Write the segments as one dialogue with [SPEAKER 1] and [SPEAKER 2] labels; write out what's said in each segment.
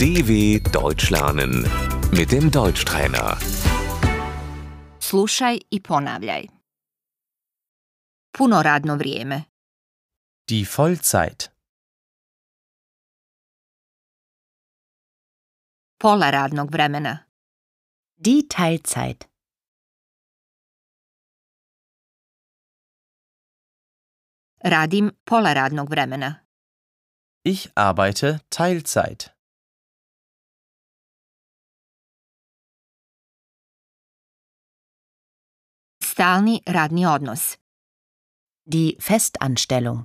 [SPEAKER 1] DW Deutsch lernen mit dem Deutschtrainer.
[SPEAKER 2] Slušaj i ponavljaj. Puno radno vrijeme.
[SPEAKER 3] Die Vollzeit.
[SPEAKER 2] Pola radnog vremena.
[SPEAKER 4] Die Teilzeit.
[SPEAKER 2] Radim pola radnog vremena.
[SPEAKER 3] Ich arbeite Teilzeit.
[SPEAKER 2] Stalni radni odnos.
[SPEAKER 4] Die Festanstellung.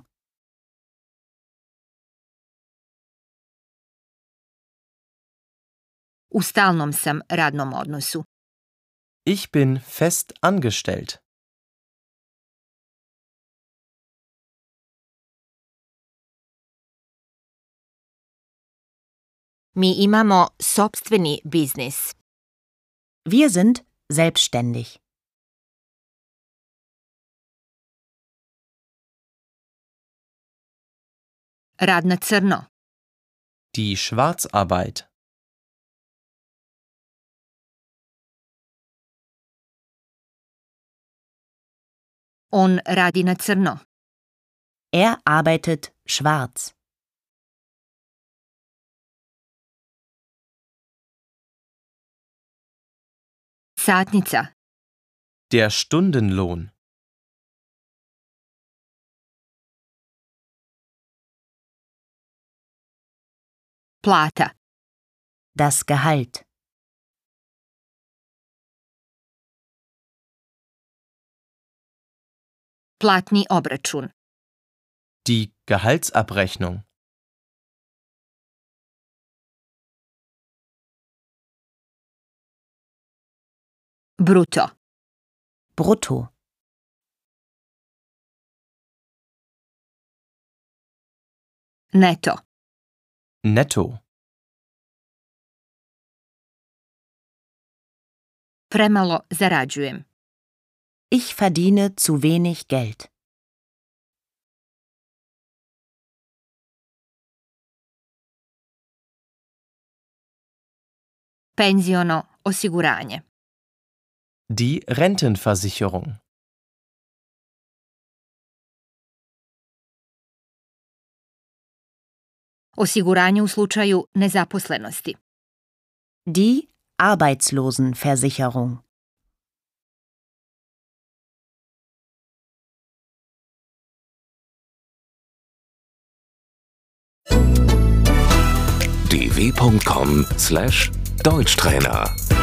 [SPEAKER 2] U stalnom sam radnom odnosu.
[SPEAKER 3] Ich bin fest angestellt.
[SPEAKER 2] Mi imamo sopstveni biznis.
[SPEAKER 4] Wir sind selbstständig.
[SPEAKER 2] Rad na crno.
[SPEAKER 3] Die Schwarzarbeit.
[SPEAKER 2] On radi na crno.
[SPEAKER 4] Er arbeitet schwarz.
[SPEAKER 2] Satnica.
[SPEAKER 3] Der Stundenlohn.
[SPEAKER 2] Plata.
[SPEAKER 4] Das Gehalt.
[SPEAKER 2] Platni obračun.
[SPEAKER 3] Die Gehaltsabrechnung.
[SPEAKER 2] Bruto.
[SPEAKER 4] Brutto.
[SPEAKER 2] Neto.
[SPEAKER 3] Netto.
[SPEAKER 2] Premalo zarađujem.
[SPEAKER 4] Ich verdiene zu wenig Geld.
[SPEAKER 2] Penziono osiguranje.
[SPEAKER 3] Die Rentenversicherung.
[SPEAKER 2] Osiguranje u slučaju nezaposlenosti.
[SPEAKER 4] Die Arbeitslosenversicherung.
[SPEAKER 1] dw.com/deutschtrainer